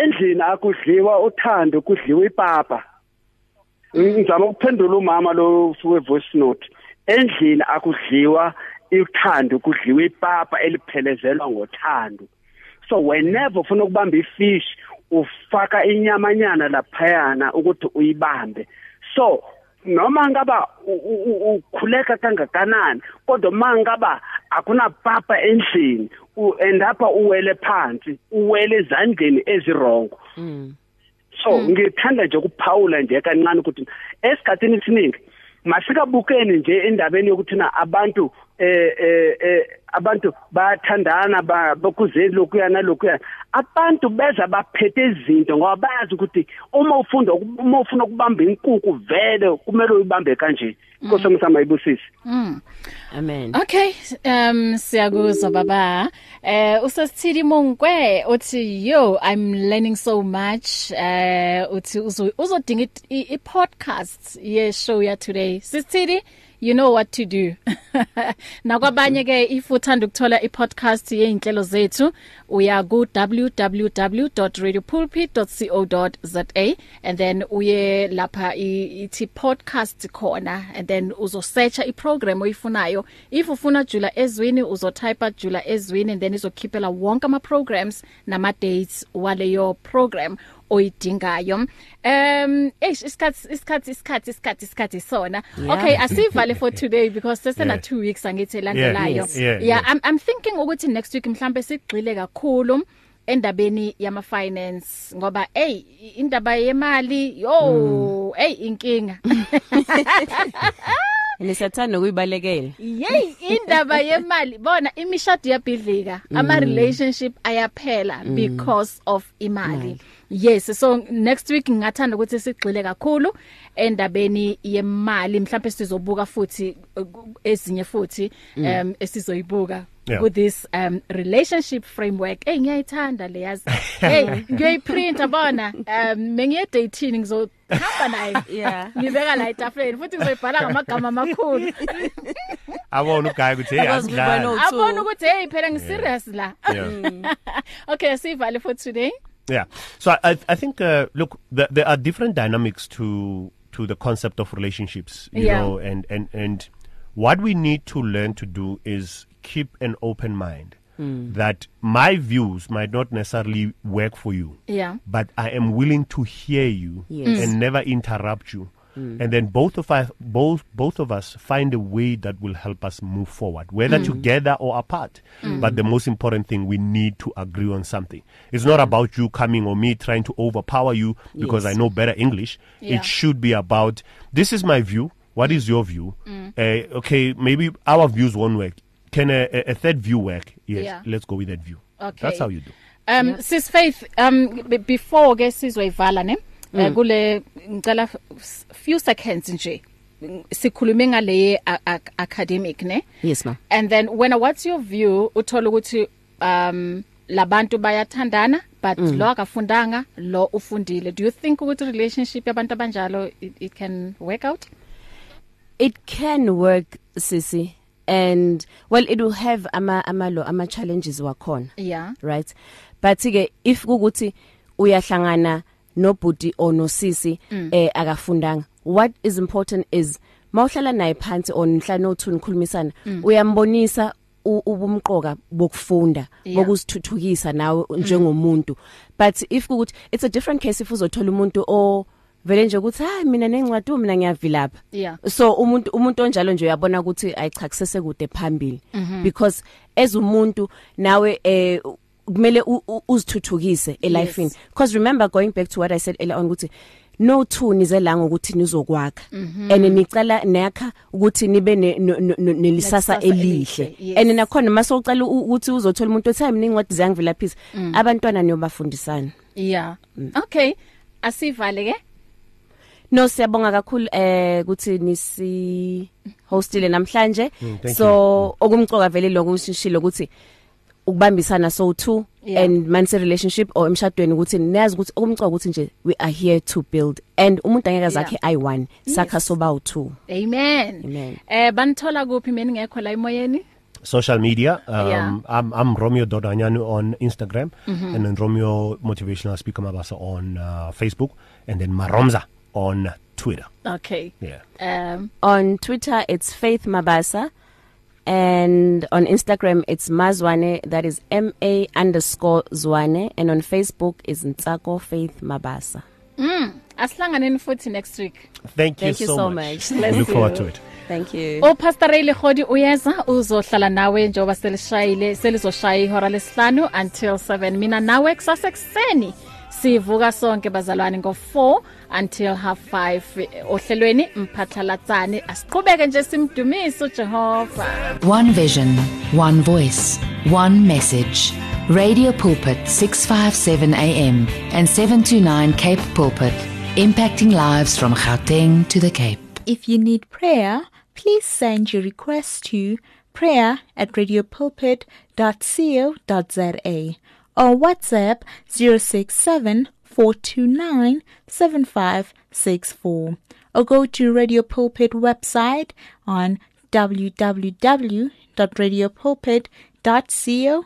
S6: endlini akudliwa uthando kudliwa ipapa ngizama ukuphendula umama lo we voice note endlini akudliwa uthando kudliwa ipapa eliphelezelwa ngothando so whenever ufuna ukubamba ifish ufaka inyamanyana laphayana ukuthi uyibambe so noma ngaba u- u- u- ukhuleka kangakanani kodwa mangaba akunapapa endlini uendapha uwele phansi uwele ezandleni ezirongo so ngithanda nje ukuphawula nje kancane ukuthi esikhathini esiningi masikabukeni nje endabeni yokuthina abantu eh eh eh, abantu bayathandana ba- bakuzeni lokuya nalokuya abantu beza baphethe izinto ngoba bayazi ukuthi uma ufunda uku- uma ufuna ukubamba inkukhu vele kumele uyibambe kanje inkosi omsama ibusisi
S4: amen
S2: Okay, um siyakuzwa baba. Eh usasithili Mongwe uthi yo I'm learning so much. Eh uthi uzo- uzodinga it- i i- podcast ye show ya today. Sisithili You know what to do. Nakwabanye ke if uthanda ukuthola i-podcast yeinhlelo zethu uya ku www.radiopulpit.co.za and then uye lapha i- ithi podcast khona and then uzo searcha iprogram oyifunayo if ufuna Jula Ezwini uzo type Jula Ezwini and then izokhiphela wonke ama programs nama dates waleyo program oyidingayo um eish isikhathi isikhathi isikhathi isikhathi isikhathi sona
S4: Yeah.
S2: okay asivale for today because sesena
S3: Yeah.
S2: 2 weeks angithi elandelayo
S3: Yes, yeah,
S2: yeah
S3: yeah.
S2: i'm i'm thinking ukuthi next week mhlambe sigxile kakhulu endabeni yama finance ngoba hey indaba yemali yo hey inkinga
S4: nisathanda ukuyibalekela
S2: yey indaba yemali bona imishado yabhidlika ama relationship ayaphela because of imali yes so next week ngingathanda ukuthi sigxile kakhulu endabeni yemali mhlawumbe sizobuka futhi uh, ezinye futhi um esizoyibuka
S3: Yeah.
S2: with this um relationship framework hey ngiyayithanda le yazi hey ngiyoyiprinta bona um mengiye dating ngizohamba naye
S4: Yeah.
S2: ngibeka la etafuleni futhi ngizoyibhala ngamagama amakhulu
S3: abona ugaye ukuthi hey
S4: Akwazi ukuba
S3: asidlali
S4: no- So-
S2: abona ukuthi hey phela ngi serious la
S3: Yeah.
S2: okay asivale for today
S3: Yeah. So I- I, I think uh, look, th- there are different dynamics to to the concept of relationships, you
S2: Yeah.
S3: know, and and and what we need to learn to do is keep an open mind
S2: Hmm.
S3: that my views might not necessarily work for you.
S2: Yeah.
S3: But I am willing to hear you
S4: Yes.
S3: and never interrupt you.
S2: Mm.
S3: And then both of us, both both of us, find a way that will help us move forward, whether
S2: Mm.
S3: together or apart. But the most important thing, we need to agree on something. It's not about you coming or me trying to overpower you because I know better English.
S2: Yeah.
S3: It should be about this is my view. What is your view?
S2: Mm.
S3: Uh, okay, maybe our views won't work. Can a, a, a third view work? Yes,
S2: Yeah.
S3: let's go with that view.
S2: Okay.
S3: that's how you do.
S2: um yeah. sis faith um b- before ke sizoyivala ne Eh, kule ngicela f- s- few seconds nje mm, sikhulume ngale a- a- academic ne
S4: Yes, ma'am.
S2: and then when what's your view uthola ukuthi um labantu bayathandana but mm. lo akafundanga lo ufundile do you think ukuthi relationship yabantu abanjalo it, it can work out
S4: it can work sisi and well it will have ama ama lo ama challenges wakhona
S2: yeah
S4: right but ke if ukuthi uyahlangana nobhuti or nosisi
S2: Mm.
S4: eh akafundanga what is important is mawuhlala naye phansi on mhlana othu nikhulumisana
S2: Mm.
S4: uyambonisa u- ubumqoka bokufunda
S2: Yeah. Mm.
S4: bokuzithuthukisa nawe njengomuntu but if ukuthi it's a different case if uzothola umuntu o vele nje ukuthi hayi mina nencwadi mina ngiyavilapha
S2: Yeah.
S4: so umuntu umuntu onjalo nje uyabona ukuthi ayichakisese kude phambili
S2: Mhm.
S4: because as umuntu nawe eh kumele u- u- uzithuthukise elifeini because remember going back to what i said earlier on ukuthi no two nize la ngokuthi nizokwakha
S2: Mhm.
S4: and nicela nakha ukuthi nibe ne- no- no- no- nelisasa
S2: Nekusasa elihle,
S4: elihle
S2: yes.
S4: and nakhona masocela ukuthi uzothola umuntu othi hayi mina incwadi zangivilaphisa
S2: Mm.
S4: abantwana niyobafundisana
S2: Yeah. Mm. Okay. Asivale ke.
S4: No siyabonga kakhulu eh ukuthi nisi hostile namhlanje
S3: thank
S4: so okumcoka vele lokushishilo ukuthi ukubambisana so two
S2: Yeah.
S4: and manse relationship or emshadweni ukuthi nazi ukuthi okumcoka ukuthi nje we are here to build and umuntu angeke zakhe i one sakha sobawu two
S2: Amen.
S4: Amen.
S2: Eh banithola kuphi mina ngekho la emoyeni?
S3: social media. Um,
S2: Yeah.
S3: I'm, I'm Romeo Dodanyanu on Instagram
S4: Mm-hmm.
S3: and then Romeo Motivational Speaker Mabasa on uh, Facebook and then Maromza on Twitter.
S2: Okay.
S3: Yeah.
S2: Um
S4: on twitter it's faith mabasa and on instagram it's mazwane that is m a underscore zwane and on facebook is ntsako faith mabasa
S2: asihlanganeni futhi next week.
S3: Thank you,
S4: Thank you
S3: so,
S4: so
S3: much.
S4: much.
S3: We
S2: Bless
S3: look forward
S2: you.
S3: to it.
S4: Thank you.
S2: O Pastor Ray Legodi uyeza uzohlala nawe njengoba selishayile selizoshaya ihora lesihlanu until 7 mina nawe kusasa kuseni sivuka sonke bazalwane ngo4 until half 5 ohlelweni mphatlalatsane asiqhubeke nje simdumise uJehova
S5: One vision, one voice, one message. Radio Pulpit 657 AM and 729 Cape Pulpit, impacting lives from Gauteng to the Cape.
S8: If you need prayer, please send your request to prayer at radiopulpit.co.za or WhatsApp 067 429 7564 or go to Radio Pulpit website on www.radiopulpit.co.za.